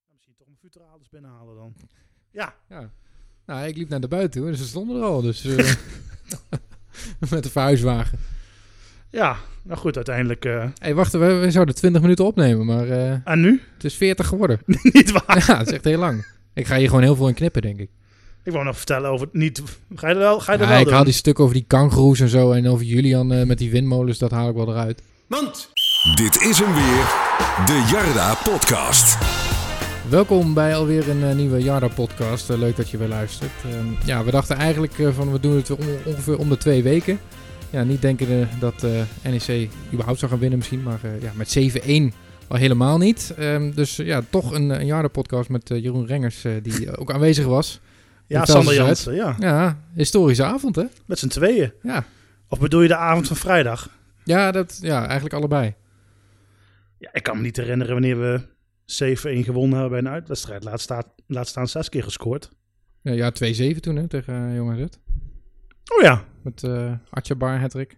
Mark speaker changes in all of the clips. Speaker 1: Nou, misschien toch mijn futurales binnenhalen dan. Ja,
Speaker 2: Ja. Nou, ik liep naar de buiten toe en ze stonden er al. Dus, eh, met de verhuiswagen.
Speaker 1: ja. Nou goed, uiteindelijk. eh,
Speaker 2: Hé, hey, wacht, we, we zouden 20 minuten opnemen, maar eh,
Speaker 1: en nu?
Speaker 2: het is 40 geworden.
Speaker 1: niet waar.
Speaker 2: ja, het is echt heel lang. Ik ga hier gewoon heel veel in knippen, denk ik.
Speaker 1: Ik wou nog vertellen over het niet. Ga je er wel? Ga je er
Speaker 2: Ja,
Speaker 1: wel
Speaker 2: ik
Speaker 1: doen?
Speaker 2: haal die stuk over die kangoeroes en zo en over Julian eh, met die windmolens, dat haal ik wel eruit.
Speaker 3: Mand.
Speaker 4: Dit is hem weer, de Jarda Podcast.
Speaker 2: Welkom bij alweer een eh, nieuwe Jarda-podcast. Eh, leuk dat je weer luistert. Ehm, ja, we dachten eigenlijk eh, van we doen het on- ongeveer om de twee weken. Ja, niet denken eh, dat eh, NEC überhaupt zou gaan winnen misschien, maar eh, ja, met 7-1 al helemaal niet. Ehm, dus eh, ja, toch een, eh, een Jarda-podcast met eh, Jeroen Rengers, eh, die eh, ook aanwezig was.
Speaker 1: Ja,
Speaker 2: Ik tel ze
Speaker 1: Sander
Speaker 2: eens uit.
Speaker 1: Jansen, ja.
Speaker 2: Ja, historische avond hè?
Speaker 1: Met z'n tweeën.
Speaker 2: Ja,
Speaker 1: Of bedoel je de avond van vrijdag?
Speaker 2: ja, dat, ja eigenlijk allebei.
Speaker 1: Ja, ik kan me niet herinneren wanneer we 7-1 gewonnen hebben bij een uitwedstrijd. Laat, staat, laat staan zes keer gescoord.
Speaker 2: Ja, ja 2-7 toen hè, tegen eh, Jong AZ.
Speaker 1: Oh ja,
Speaker 2: Met eh Atjabar, Hattrick.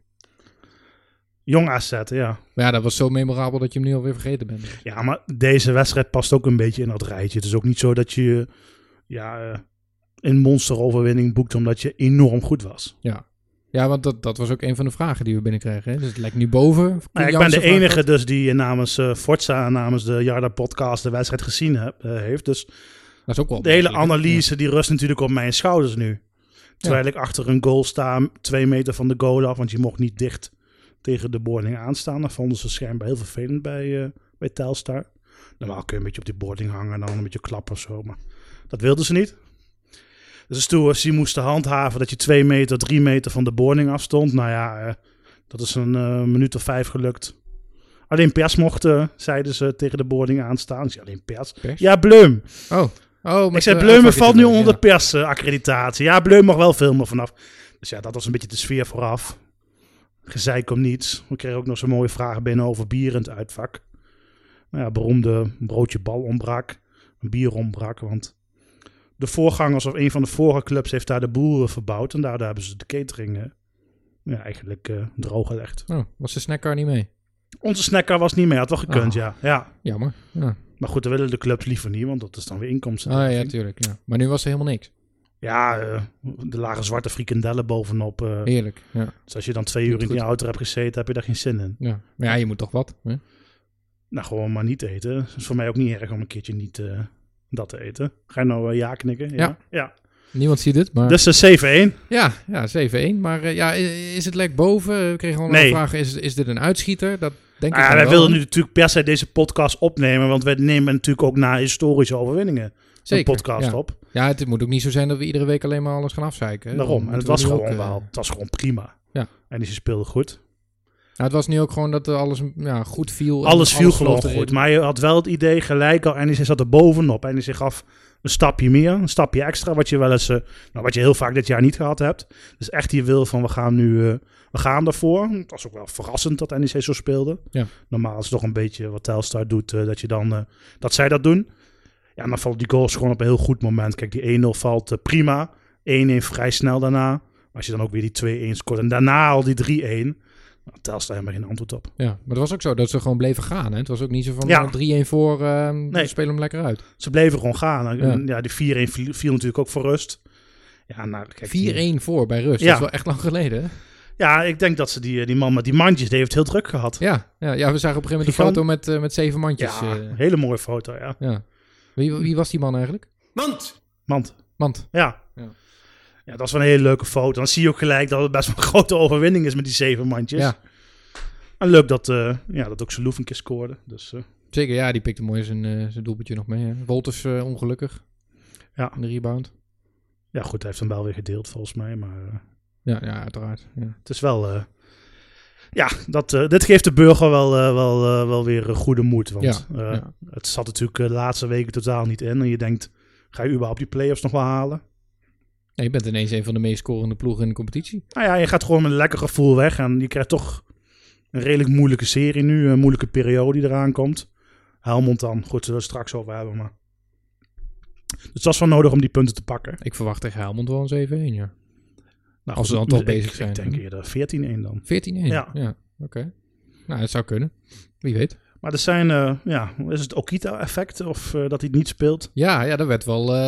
Speaker 1: jong AZ, ja.
Speaker 2: Maar ja, dat was zo memorabel dat je hem nu alweer vergeten bent.
Speaker 1: Ja, maar deze wedstrijd past ook een beetje in dat rijtje. Het is ook niet zo dat je ja, eh, een monsteroverwinning boekt omdat je enorm goed was.
Speaker 2: Ja, want dat, dat was ook een van de vragen die we binnenkregen. Hè? Dus het lijkt nu boven.
Speaker 1: Nou, ik ben
Speaker 2: Jansen
Speaker 1: de
Speaker 2: vraagt
Speaker 1: enige
Speaker 2: dat.
Speaker 1: dus die namens eh Forza, namens de Jarda podcast de wedstrijd gezien heb- eh, heeft. Dus
Speaker 2: Dat is ook wel
Speaker 1: De hele
Speaker 2: opmerkelijk, hè?
Speaker 1: analyse die rust natuurlijk op mijn schouders nu. Terwijl ik achter een goal sta, twee meter van de goal af, want je mocht niet dicht tegen de boarding aanstaan. Dat vonden ze schijnbaar heel vervelend bij, eh bij Telstar. Normaal kun je een beetje op die boarding hangen en dan een beetje klappen of zo, maar dat wilden ze niet. Dus de stewards die moesten handhaven dat je twee meter, drie meter van de boarding afstond. Nou ja, eh, dat is een eh, minuut of vijf gelukt. Alleen pers mocht, eh, zeiden ze, tegen de boarding aanstaan. Ik zei, alleen pers?
Speaker 2: Pers?
Speaker 1: Ja, Blum.
Speaker 2: Ja. Oh. oh
Speaker 1: Ik
Speaker 2: met,
Speaker 1: zei,
Speaker 2: eh,
Speaker 1: Bleumen
Speaker 2: uitvakje
Speaker 1: valt nu
Speaker 2: erbij,
Speaker 1: onder
Speaker 2: ja.
Speaker 1: persaccreditatie. Ja, Bleum mag wel filmen vanaf. Dus ja, dat was een beetje de sfeer vooraf. Gezeik om niets. We kregen ook nog zo'n mooie vragen binnen over bier in het uitvak. Nou ja, beroemde broodje bal ontbrak. Een bier ontbrak, want de voorgangers of een van de vorige clubs heeft daar de boeren verbouwd. En daardoor hebben ze de catering eh, ja, eigenlijk eh droog gelegd.
Speaker 2: Oh, was de snackcar niet mee?
Speaker 1: Onze snacker was niet mee, had wel gekund,
Speaker 2: Ah.
Speaker 1: ja. ja.
Speaker 2: Jammer. Ja.
Speaker 1: Maar goed, dat willen de clubs liever niet, want dat is dan weer inkomsten.
Speaker 2: Ah ja, tuurlijk. Ja. Maar nu was er helemaal niks.
Speaker 1: Ja, eh, er lagen zwarte frikandellen bovenop. eh.
Speaker 2: Heerlijk. Ja.
Speaker 1: Dus als je dan twee uur in
Speaker 2: goed.
Speaker 1: die auto hebt gezeten, heb je daar geen zin in.
Speaker 2: Ja. Maar ja, je moet toch wat. Hè?
Speaker 1: Nou, gewoon maar niet eten. Dat is voor mij ook niet erg om een keertje niet eh, dat te eten. Ga je nou eh, ja knikken?
Speaker 2: Ja.
Speaker 1: ja.
Speaker 2: Niemand ziet het, maar...
Speaker 1: Dus eh, 7-1.
Speaker 2: Ja, ja 7-1. Maar eh, ja, i- is het lek boven? We kregen al
Speaker 1: Nee.
Speaker 2: een vraag, is, is dit een uitschieter? Dat denk ik
Speaker 1: Ah, ja,
Speaker 2: van
Speaker 1: wij
Speaker 2: wel.
Speaker 1: wilden nu natuurlijk per se deze podcast opnemen. Want wij nemen natuurlijk ook na historische overwinningen
Speaker 2: Zeker,
Speaker 1: een podcast
Speaker 2: ja.
Speaker 1: op.
Speaker 2: Ja, het moet ook niet zo zijn dat we iedere week alleen maar alles gaan afzeiken. hè. Dan
Speaker 1: Daarom. En het
Speaker 2: moeten we
Speaker 1: was,
Speaker 2: nu ook,
Speaker 1: gewoon
Speaker 2: eh,
Speaker 1: wel, het was gewoon prima.
Speaker 2: Ja.
Speaker 1: En die speelde goed.
Speaker 2: Nou, het was nu ook gewoon dat er alles ja, goed viel. en
Speaker 1: Alles viel gewoon
Speaker 2: geloofde
Speaker 1: goed.
Speaker 2: erin.
Speaker 1: Maar je had wel het idee gelijk al. En die zat er bovenop. En die gaf een stapje meer, een stapje extra. Wat je wel eens, eh, nou, wat je heel vaak dit jaar niet gehad hebt. Dus echt die wil van we gaan nu, eh, we gaan ervoor. Het was ook wel verrassend dat NEC zo speelde.
Speaker 2: Ja.
Speaker 1: Normaal is het toch een beetje wat Telstar doet. eh, dat je dan, eh, dat zij dat doen. Ja, en dan vallen die goals gewoon op een heel goed moment. Kijk, die 1-0 valt eh, prima. 1-1 vrij snel daarna. Maar als je dan ook weer die 2-1 scoort. En daarna al die 3-1. Nou, Telstar helemaal geen antwoord op.
Speaker 2: Ja, maar het was ook zo dat ze gewoon bleven gaan. Hè? Het was ook niet zo van
Speaker 1: Ja.
Speaker 2: eh, 3-1 voor, eh we spelen hem lekker uit. 4-1
Speaker 1: Ze bleven gewoon gaan. En,
Speaker 2: Ja.
Speaker 1: en ja, die 4-1 viel, viel natuurlijk ook voor rust. Ja, nou, kijk, die-
Speaker 2: voor bij rust.
Speaker 1: Ja.
Speaker 2: Dat is wel echt lang geleden. Hè?
Speaker 1: ja, ik denk dat ze die, eh, die man met die mandjes, die heeft heel druk gehad.
Speaker 2: Ja, ja, ja, we zagen op een gegeven moment een
Speaker 1: Gigant.
Speaker 2: foto met, eh, met zeven mandjes.
Speaker 1: Ja,
Speaker 2: Ja.
Speaker 1: een hele mooie foto, ja.
Speaker 2: ja. Wie, wie was die man eigenlijk?
Speaker 3: Mand.
Speaker 1: Mand,
Speaker 2: Mand.
Speaker 1: ja.
Speaker 2: Ja.
Speaker 1: ja. dat was wel een hele leuke foto. Dan zie je ook gelijk dat het best wel een grote overwinning is met die zeven mandjes.
Speaker 2: Ja,
Speaker 1: En leuk dat, eh, ja, dat ook zijn een keer scoorde. Dus eh,
Speaker 2: zeker. Ja, die pikte mooi zijn, eh, zijn doelpuntje nog mee. Hè? Wolters eh, ongelukkig.
Speaker 1: Ja.
Speaker 2: In de rebound.
Speaker 1: ja, goed, hij heeft hem wel weer gedeeld volgens mij. Maar eh,
Speaker 2: Ja, ja uiteraard. Ja.
Speaker 1: het is wel... eh, ja, dat, eh, dit geeft de burger wel, eh, wel, eh, wel weer eh, goede moed. Want eh,
Speaker 2: ja.
Speaker 1: Het zat natuurlijk eh, de laatste weken totaal niet in. En je denkt, ga je überhaupt die play-offs nog wel halen?
Speaker 2: Ja, je bent ineens een van de meest scorende ploegen in de competitie.
Speaker 1: Nou ja, je gaat gewoon met een lekker gevoel weg. En je krijgt toch een redelijk moeilijke serie nu. Een moeilijke periode die eraan komt. Helmond dan. Goed, zullen we het straks over hebben. Maar... Dus dat is wel nodig om die punten te pakken.
Speaker 2: Ik verwacht tegen Helmond wel een 7-1, ja.
Speaker 1: Nou,
Speaker 2: Als ze
Speaker 1: goed,
Speaker 2: dan toch
Speaker 1: ik-
Speaker 2: bezig
Speaker 1: Ik
Speaker 2: zijn.
Speaker 1: denk eerder 14-1 dan.
Speaker 2: 14-1. Ja.
Speaker 1: Ja.
Speaker 2: Oké. Nou, dat zou kunnen. Wie weet.
Speaker 1: Maar Maar er zijn, eh, ja, is het Okita-effect of eh, dat hij het niet speelt?
Speaker 2: Ja, ja, daar, werd wel, eh,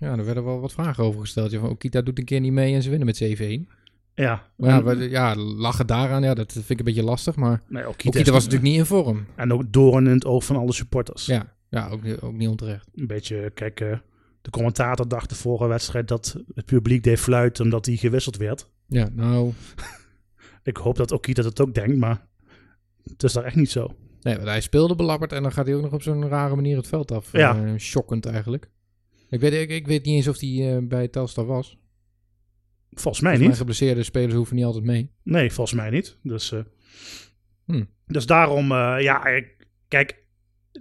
Speaker 2: ja, daar werden wel wat vragen over gesteld. Ja, van Okita doet een keer niet mee en ze winnen met 7-1.
Speaker 1: Ja.
Speaker 2: Maar ja,
Speaker 1: En-
Speaker 2: we- ja, lachen daaraan, ja, dat vind ik een beetje lastig. Maar
Speaker 1: nee, Okita,
Speaker 2: Okita,
Speaker 1: is-
Speaker 2: was natuurlijk niet in vorm.
Speaker 1: En ook doorn in het oog van alle supporters.
Speaker 2: Ja, ja ook, niet- ook niet onterecht.
Speaker 1: Een beetje, kijk, eh, de commentator dacht de vorige wedstrijd dat het publiek deed fluiten omdat hij gewisseld werd.
Speaker 2: Ja, nou,
Speaker 1: Ik hoop dat Okita dat ook denkt, maar het is daar echt niet zo.
Speaker 2: nee, want hij speelde belabberd en dan gaat hij ook nog op zo'n rare manier het veld af.
Speaker 1: Ja.
Speaker 2: Eh, Shockend eigenlijk. Ik weet, ik, ik weet niet eens of hij eh, bij Telstar was.
Speaker 1: Volgens mij
Speaker 2: Volgens
Speaker 1: niet.
Speaker 2: mij geblesseerde spelers hoeven niet altijd mee.
Speaker 1: Nee, volgens mij niet. Dus, eh,
Speaker 2: Hmm.
Speaker 1: dus daarom, eh, ja, ik- kijk,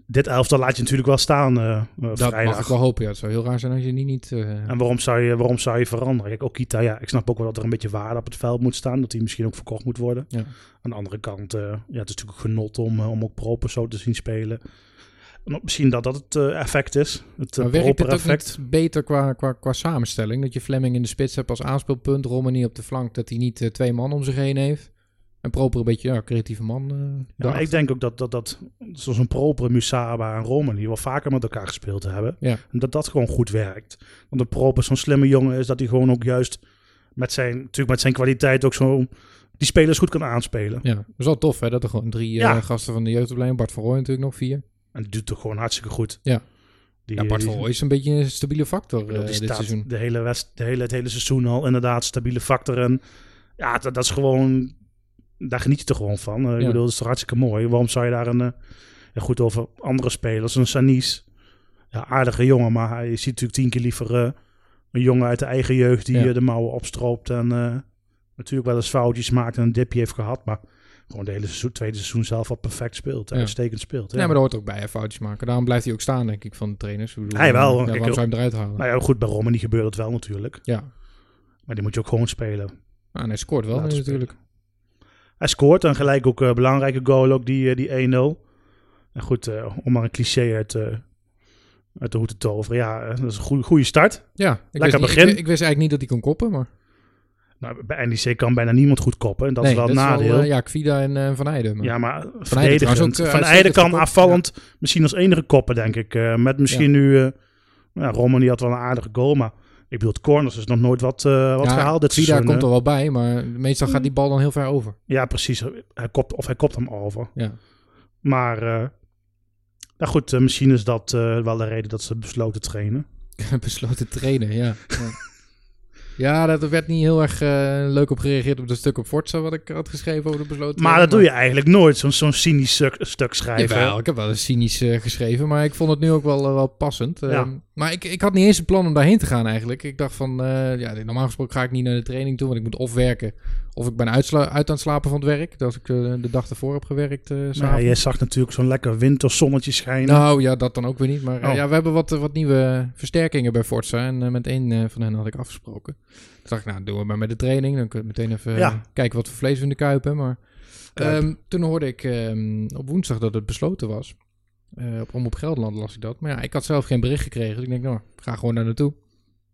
Speaker 1: dit elftal laat je natuurlijk wel staan eh, eh,
Speaker 2: Dat mag ik
Speaker 1: vrijdag.
Speaker 2: wel hopen. Ja, het zou heel raar zijn als je die niet... eh,
Speaker 1: En waarom zou, je, waarom zou je veranderen? Kijk, Okita, ja, ik snap ook wel dat er een beetje waarde op het veld moet staan. Dat hij misschien ook verkocht moet worden.
Speaker 2: Ja.
Speaker 1: Aan de andere kant, eh, ja, het is natuurlijk genot om, eh, om ook Proper zo te zien spelen. En ook misschien dat dat het eh, effect is. Het
Speaker 2: maar
Speaker 1: eh,
Speaker 2: werkt het
Speaker 1: Proper
Speaker 2: ook
Speaker 1: effect.
Speaker 2: niet beter qua, qua, qua samenstelling? Dat je Fleming in de spits hebt als aanspeelpunt, Romani op de flank, dat hij niet eh, twee man om zich heen heeft. En Proper een beetje ja, creatieve man. eh,
Speaker 1: Ja, maar
Speaker 2: daarachter.
Speaker 1: ik denk ook dat, dat, dat zoals een Proper, Musaba en Roman die wel vaker met elkaar gespeeld hebben.
Speaker 2: Ja.
Speaker 1: En dat dat gewoon goed werkt. Want een Proper zo'n slimme jongen is dat hij gewoon ook juist met zijn, natuurlijk met zijn kwaliteit ook zo die spelers goed kan aanspelen.
Speaker 2: ja, dat is wel tof hè, dat er gewoon drie eh,
Speaker 1: Ja.
Speaker 2: gasten van de jeugdopleiding, Bart van Rooij natuurlijk nog vier.
Speaker 1: En dat doet het gewoon hartstikke goed.
Speaker 2: Ja.
Speaker 1: Die,
Speaker 2: Ja, Bart van
Speaker 1: die-
Speaker 2: Rooij is een beetje een stabiele factor
Speaker 1: Ik bedoel,
Speaker 2: eh,
Speaker 1: die
Speaker 2: dit
Speaker 1: staat
Speaker 2: seizoen.
Speaker 1: de hele west, de hele, het hele seizoen al inderdaad stabiele factor. En ja, dat, dat is gewoon, daar geniet je er gewoon van. Eh, Ik
Speaker 2: Ja.
Speaker 1: bedoel, dat is toch hartstikke mooi. Waarom zou je daar een, eh, ja, goed over andere spelers, een Sanis, ja, aardige jongen, maar hij ziet natuurlijk tien keer liever eh, een jongen uit de eigen jeugd die
Speaker 2: Ja.
Speaker 1: eh, de mouwen opstroopt en eh, natuurlijk wel eens foutjes maakt en een dipje heeft gehad, maar gewoon de hele seizoen, tweede seizoen zelf al perfect speelt, en
Speaker 2: Ja.
Speaker 1: uitstekend speelt.
Speaker 2: Ja, maar dat hoort er ook bij, hè, foutjes maken. Daarom blijft hij ook staan, denk ik, van de trainers. Ik bedoel,
Speaker 1: Hij wel,
Speaker 2: eh,
Speaker 1: want
Speaker 2: Ja,
Speaker 1: kijk,
Speaker 2: waarom zou je hem eruit halen?
Speaker 1: Nou ja, goed, bij Rommen die gebeurt het wel natuurlijk,
Speaker 2: Ja,
Speaker 1: maar die moet je ook gewoon spelen.
Speaker 2: Ah, en hij scoort wel
Speaker 1: Laten
Speaker 2: nu
Speaker 1: spelen.
Speaker 2: natuurlijk.
Speaker 1: Hij scoort en gelijk ook een belangrijke goal, ook die, eh, die 1-0. En goed, eh, om maar een cliché uit, eh, uit de hoed te toveren. Ja, eh, dat is een goede, goede start.
Speaker 2: Ja, ik wist,
Speaker 1: Lekker
Speaker 2: niet- ik-
Speaker 1: begin.
Speaker 2: Ik, wist eigenlijk niet dat hij kon koppen, maar...
Speaker 1: Nou, bij NEC kan bijna niemand goed koppen. En dat
Speaker 2: Nee,
Speaker 1: is wel een nadeel.
Speaker 2: eh, ja, Kvida en eh, Van Eijden. maar-
Speaker 1: ja, maar
Speaker 2: trouwens ook,
Speaker 1: verdedigend. van
Speaker 2: eh,
Speaker 1: Eijden
Speaker 2: uitstekend
Speaker 1: kan
Speaker 2: gekopt,
Speaker 1: afvallend misschien als enige koppen, denk ik. Eh, met misschien nu... eh nou, Roman die had wel een aardige goal, maar... Ik bedoel, het corners is nog nooit wat, eh, wat
Speaker 2: Ja,
Speaker 1: gehaald dit
Speaker 2: Vida
Speaker 1: seizoen.
Speaker 2: komt
Speaker 1: hè.
Speaker 2: er wel bij, maar meestal gaat die bal dan heel ver over.
Speaker 1: Ja, precies. Hij kopt, of hij kopt hem over.
Speaker 2: Ja.
Speaker 1: Maar eh, nou goed, eh, misschien is dat eh, wel de reden dat ze besloten te trainen.
Speaker 2: Besloten trainen, ja. ja. ja, dat werd niet heel erg eh, leuk op gereageerd op dat stuk op Forza wat ik had geschreven over de besloten
Speaker 1: Maar dat doe je eigenlijk nooit, zo'n zo'n cynisch stuk, stuk schrijven.
Speaker 2: Jawel, ik heb wel eens cynisch eh, geschreven, maar ik vond het nu ook wel, eh, wel passend.
Speaker 1: Ja.
Speaker 2: Ehm, maar ik, ik had niet eens een plan om daarheen te gaan eigenlijk. Ik dacht van, eh, ja, normaal gesproken ga ik niet naar de training toe, want ik moet of werken, of ik ben uitsla- uit aan het slapen van het werk, dat ik eh, de dag ervoor heb gewerkt. eh,
Speaker 1: Maar ja,
Speaker 2: s'avonds.
Speaker 1: je zag natuurlijk zo'n lekker winterzonnetje schijnen.
Speaker 2: Nou ja, dat dan ook weer niet. Maar eh,
Speaker 1: Oh.
Speaker 2: ja, we hebben wat, eh, wat nieuwe versterkingen bij Forza. En eh, met één eh, van hen had ik afgesproken. Toen dacht ik, nou, doen we maar met de training. Dan kunnen we meteen even eh,
Speaker 1: Ja.
Speaker 2: kijken wat voor vlees we in de kuip hebben. Maar
Speaker 1: Kuip.
Speaker 2: ehm, toen hoorde ik ehm, op woensdag dat het besloten was. Eh, op Omroep Gelderland las ik dat. Maar ja, ik had zelf geen bericht gekregen. Dus ik denk, nou, ik ga gewoon daar naartoe.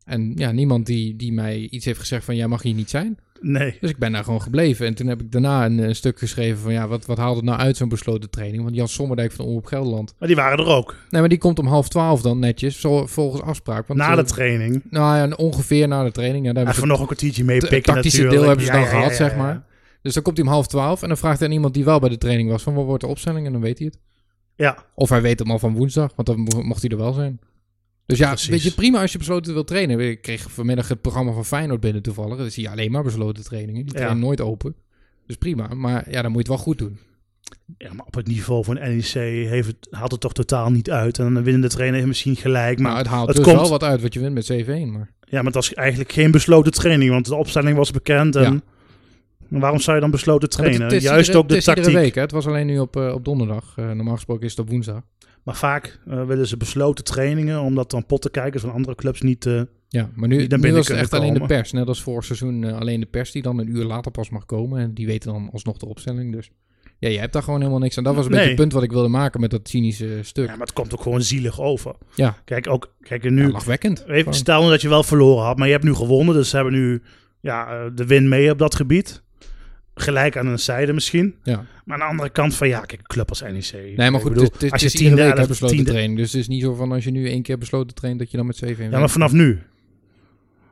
Speaker 2: En ja, niemand die, die mij iets heeft gezegd van, jij mag hier niet zijn.
Speaker 1: nee,
Speaker 2: Dus ik ben daar gewoon gebleven. En toen heb ik daarna een, eh, stuk geschreven van, ja, wat, wat haalt het nou uit zo'n besloten training? Want Jan Sommerdijk van Omroep Gelderland...
Speaker 1: maar die waren er ook,
Speaker 2: Nee, maar die komt om half twaalf dan netjes, zo, volgens afspraak. Want,
Speaker 1: na
Speaker 2: eh,
Speaker 1: de training.
Speaker 2: Nou ja, ongeveer na de training. Ja, daar hebben
Speaker 1: Even
Speaker 2: ze
Speaker 1: nog een kwartiertje mee
Speaker 2: het
Speaker 1: pikken
Speaker 2: tactische
Speaker 1: natuurlijk.
Speaker 2: deel hebben ze
Speaker 1: Ja,
Speaker 2: dan
Speaker 1: ja,
Speaker 2: gehad,
Speaker 1: ja,
Speaker 2: zeg
Speaker 1: ja.
Speaker 2: maar. Dus dan komt hij om half twaalf en dan vraagt hij aan iemand die wel bij de training was van wat wordt de opstelling en dan weet hij het.
Speaker 1: Ja,
Speaker 2: Of hij weet hem al van woensdag, want dan mo- mocht hij er wel zijn. Dus ja,
Speaker 1: Precies.
Speaker 2: weet je, prima als je besloten wil trainen. Ik kreeg vanmiddag het programma van Feyenoord binnen toevallig. Dan zie je alleen maar besloten trainingen. Die
Speaker 1: Ja.
Speaker 2: trainen nooit open. Dus prima, maar ja, dan moet je het wel goed doen.
Speaker 1: ja, maar op het niveau van NEC heeft het, haalt het toch totaal niet uit. En dan winnen de trainer heeft misschien gelijk. Maar,
Speaker 2: Maar het haalt
Speaker 1: het
Speaker 2: dus
Speaker 1: komt-
Speaker 2: wel wat uit wat je wint met 7-1. Maar
Speaker 1: ja, maar het was eigenlijk geen besloten training, want de opstelling was bekend. En en waarom zou je dan besloten trainen?
Speaker 2: Ja, maar het is
Speaker 1: Juist
Speaker 2: iedere-
Speaker 1: ook de
Speaker 2: het is iedere
Speaker 1: tactiek.
Speaker 2: week, hè. Het was alleen nu op, eh, op donderdag. Eh, normaal gesproken is het op woensdag.
Speaker 1: Maar vaak eh, willen ze besloten trainingen, omdat dan pottenkijkers van andere clubs niet... eh,
Speaker 2: Ja, maar
Speaker 1: Die
Speaker 2: nu,
Speaker 1: daar
Speaker 2: nu
Speaker 1: binnen
Speaker 2: was het
Speaker 1: kunnen
Speaker 2: echt alleen de
Speaker 1: komen.
Speaker 2: pers. Net als vorig seizoen eh, alleen de pers die dan een uur later pas mag komen. En die weten dan alsnog de opstelling. Dus ja, je hebt daar gewoon helemaal niks aan. Dat was een
Speaker 1: Nee.
Speaker 2: beetje het punt wat ik wilde maken met dat cynische stuk.
Speaker 1: ja, maar het komt ook gewoon zielig over.
Speaker 2: Ja.
Speaker 1: Kijk, ook, kijk en nu...
Speaker 2: Ja, lachwekkend.
Speaker 1: Even,
Speaker 2: Gewoon.
Speaker 1: stel nu dat je wel verloren had, maar je hebt nu gewonnen. Dus ze hebben nu ja, eh, de win mee op dat gebied. gelijk aan een zijde misschien.
Speaker 2: Ja.
Speaker 1: Maar aan de andere kant van ja, kijk, een club als NEC.
Speaker 2: Nee, maar
Speaker 1: Ik
Speaker 2: goed,
Speaker 1: bedoel,
Speaker 2: het, het,
Speaker 1: als
Speaker 2: het
Speaker 1: je
Speaker 2: is iedere week
Speaker 1: 11,
Speaker 2: hè, besloten
Speaker 1: 10e
Speaker 2: trainen. Dus het is niet zo van als je nu één keer besloten traint dat je dan met 7-1
Speaker 1: Ja, maar
Speaker 2: wint.
Speaker 1: vanaf nu.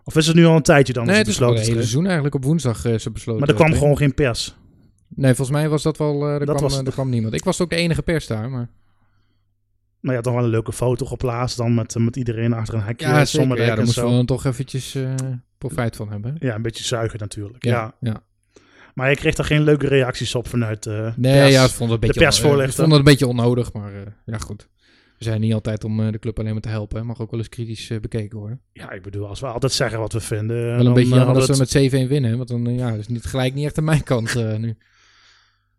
Speaker 1: Of is het nu al een tijdje dan? als
Speaker 2: Nee, het is wel
Speaker 1: besloten
Speaker 2: het hele
Speaker 1: is?
Speaker 2: seizoen eigenlijk op woensdag eh, ze besloten.
Speaker 1: Maar er kwam
Speaker 2: trainen.
Speaker 1: gewoon geen pers.
Speaker 2: Nee, volgens mij was dat wel... eh er,
Speaker 1: Dat
Speaker 2: kwam,
Speaker 1: was
Speaker 2: eh,
Speaker 1: het.
Speaker 2: er kwam niemand. Ik was ook de enige pers daar, maar...
Speaker 1: Nou ja, toch wel een leuke foto geplaatst dan met, met iedereen achter een hekje.
Speaker 2: Ja, zeker.
Speaker 1: Sommerdijk
Speaker 2: Ja, daar
Speaker 1: en
Speaker 2: moesten
Speaker 1: zo.
Speaker 2: we dan toch eventjes eh, profijt van hebben.
Speaker 1: Ja, een beetje zuigen natuurlijk. Ja.
Speaker 2: Ja. ja.
Speaker 1: Maar je kreeg daar geen leuke reacties op vanuit eh
Speaker 2: Nee,
Speaker 1: pers.
Speaker 2: ja, ze vonden het een
Speaker 1: de
Speaker 2: beetje,
Speaker 1: persvoorlichter.
Speaker 2: eh, ze vonden het een beetje onnodig, maar eh, ja, goed. We zijn niet altijd om eh, de club alleen maar te helpen. hè. Mag ook wel eens kritisch eh, bekeken worden.
Speaker 1: Ja, ik bedoel, als we altijd zeggen wat we vinden... eh,
Speaker 2: Wel een beetje jammer
Speaker 1: hadden
Speaker 2: dat ze
Speaker 1: het-
Speaker 2: met 7-1 winnen. hè, Want dan eh, ja, is niet gelijk niet echt aan mijn kant eh, nu.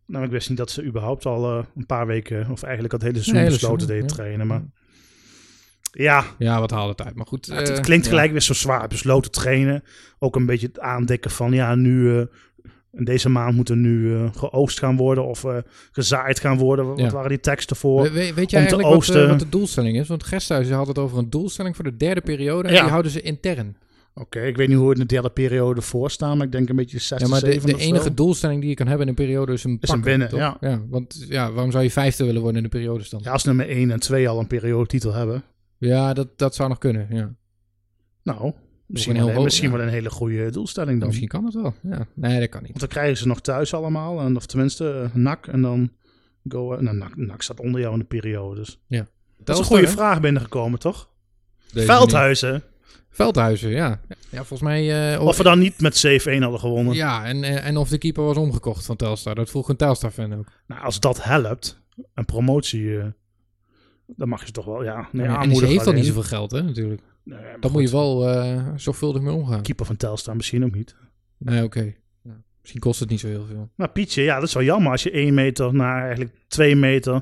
Speaker 1: Nou, ik wist niet dat ze überhaupt al eh, een paar weken... of eigenlijk het hele seizoen
Speaker 2: Nee, hele
Speaker 1: besloten
Speaker 2: seizoen,
Speaker 1: deden
Speaker 2: ja.
Speaker 1: trainen. Maar ja,
Speaker 2: Ja, wat haalde het uit. Maar goed.
Speaker 1: het, het
Speaker 2: eh,
Speaker 1: klinkt
Speaker 2: ja.
Speaker 1: gelijk weer zo zwaar. Besloten trainen. Ook een beetje het aandekken van ja, nu. eh deze maand moeten nu eh, geoogst gaan worden of eh, gezaaid gaan worden. Wat
Speaker 2: Ja.
Speaker 1: waren die teksten voor?
Speaker 2: We- we- weet jij
Speaker 1: om te
Speaker 2: eigenlijk wat, eh,
Speaker 1: oogsten.
Speaker 2: wat de doelstelling is? Want Gesthuis had het over een doelstelling voor de derde periode. En
Speaker 1: Ja.
Speaker 2: die houden ze intern.
Speaker 1: Oké, ik weet niet hoe het in de derde periode voor staat, maar ik denk een beetje 60,
Speaker 2: Ja, maar de,
Speaker 1: 70
Speaker 2: de
Speaker 1: of zo.
Speaker 2: enige doelstelling die je kan hebben in een periode is een
Speaker 1: Is
Speaker 2: pakken,
Speaker 1: een winnen,
Speaker 2: toch?
Speaker 1: ja.
Speaker 2: Want ja, waarom zou je vijfde willen worden in de periodestand?
Speaker 1: Ja,
Speaker 2: Ja,
Speaker 1: als nummer 1 en 2 al een periodetitel hebben.
Speaker 2: dat, dat zou nog kunnen. Ja.
Speaker 1: Nou, misschien,
Speaker 2: een
Speaker 1: wel,
Speaker 2: heel hoog,
Speaker 1: misschien
Speaker 2: ja.
Speaker 1: wel een hele goede doelstelling dan.
Speaker 2: Misschien kan dat wel. Ja. Nee, dat kan niet.
Speaker 1: Want dan krijgen ze nog thuis allemaal, en, of tenminste eh, NAC en dan Go. Nou, NAC, NAC staat onder jou in de periode. Dus. Dat is een goede vraag binnengekomen, toch? Veldhuizen.
Speaker 2: Veldhuizen, ja. Ja, volgens mij... eh,
Speaker 1: Of we dan niet met 7-1 hadden gewonnen.
Speaker 2: Ja, en, eh, en en of de keeper was omgekocht van Telstar. Dat vroeg een Telstar-fan ook.
Speaker 1: Nou, als dat helpt, een promotie, eh, dan mag je toch wel, ja. Nee,
Speaker 2: en die
Speaker 1: aanmoedigen
Speaker 2: heeft al
Speaker 1: alleen.
Speaker 2: niet zoveel geld, hè, natuurlijk.
Speaker 1: Nee, maar
Speaker 2: Daar
Speaker 1: goed,
Speaker 2: moet je wel eh, zorgvuldig mee omgaan.
Speaker 1: Keeper van Telstar misschien ook niet.
Speaker 2: Nee, oké. Ja. Misschien kost het niet zo heel veel.
Speaker 1: Maar Pietje, ja, dat is wel jammer als je 1 meter naar eigenlijk 2 meter.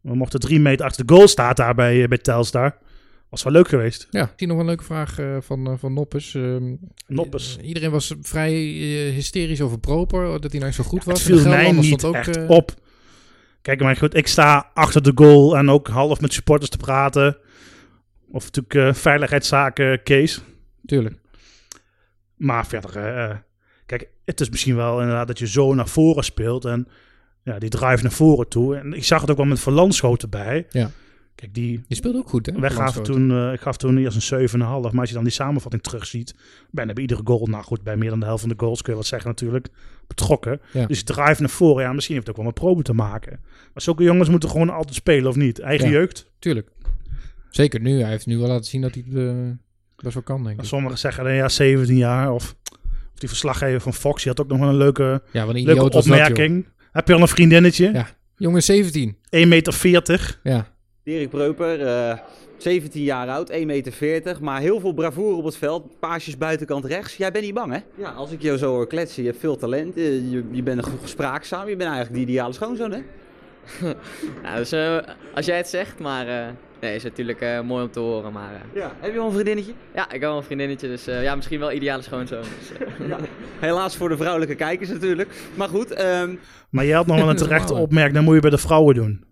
Speaker 1: We mochten 3 meter achter de goal staat daar bij, eh, bij Telstar. Was wel leuk geweest.
Speaker 2: Ja, ik zie nog wel een leuke vraag eh, van, eh, van Noppes. Ehm,
Speaker 1: Noppes.
Speaker 2: i- iedereen was vrij eh, hysterisch over Proper, dat hij nou zo goed was.
Speaker 1: Het
Speaker 2: En
Speaker 1: viel
Speaker 2: de
Speaker 1: mij
Speaker 2: Gelderlander
Speaker 1: niet
Speaker 2: stond
Speaker 1: echt
Speaker 2: eh,
Speaker 1: op. Kijk, maar goed, ik sta achter de goal en ook half met supporters te praten. Of natuurlijk eh, veiligheidszaken, Kees.
Speaker 2: Tuurlijk.
Speaker 1: Maar verder, eh, eh, kijk, het is misschien wel inderdaad dat je zo naar voren speelt en ja, die drive naar voren toe. En ik zag het ook wel met Verlandschoten bij.
Speaker 2: Ja.
Speaker 1: Kijk, die
Speaker 2: Je speelde ook goed, hè?
Speaker 1: wij gaven
Speaker 2: Landschoten.
Speaker 1: toen, eh, ik gaf toen eerst een 7,5. Maar als je dan die samenvatting terugziet, bijna bij iedere goal, nou goed, bij meer dan de helft van de goals kun je wat zeggen natuurlijk, betrokken.
Speaker 2: Ja.
Speaker 1: Dus die drive naar voren, ja, misschien heeft het ook wel met probe te maken. Maar zulke jongens moeten gewoon altijd spelen, of niet? Eigen
Speaker 2: Ja.
Speaker 1: jeugd.
Speaker 2: Tuurlijk. Zeker nu. Hij heeft nu wel laten zien dat hij het eh, best wel kan, denk ik.
Speaker 1: Sommigen zeggen, eh, ja, 17 jaar of... Of die verslaggever van Fox, die had ook nog wel een leuke,
Speaker 2: Ja, wat een idioot
Speaker 1: leuke
Speaker 2: was dat, joh.
Speaker 1: opmerking. Heb je al een vriendinnetje?
Speaker 2: Ja. Jongen, 17.
Speaker 1: 1,40 meter.
Speaker 2: Ja.
Speaker 3: Dirk Breuper, eh, 17 jaar oud, 1,40 meter, maar heel veel bravoure op het veld. Paasjes buitenkant rechts. Jij bent niet bang, hè? Ja, als ik jou zo hoor kletsen, je hebt veel talent, eh, je, je bent goed spraakzaam, je bent eigenlijk de ideale schoonzoon, hè?
Speaker 5: Ja, dus, eh, als jij het zegt, maar eh, nee, is natuurlijk eh, mooi om te horen. Maar eh,
Speaker 3: Ja. Heb je al een vriendinnetje?
Speaker 5: ja, ik heb wel een vriendinnetje, dus eh, ja, misschien wel ideale schoonzoon. Dus, eh.
Speaker 3: Helaas voor de vrouwelijke kijkers natuurlijk. Maar goed, ehm,
Speaker 1: Maar jij had nog wel een terechte
Speaker 2: Normaal, hè?
Speaker 1: opmerking, dan moet je bij de vrouwen doen.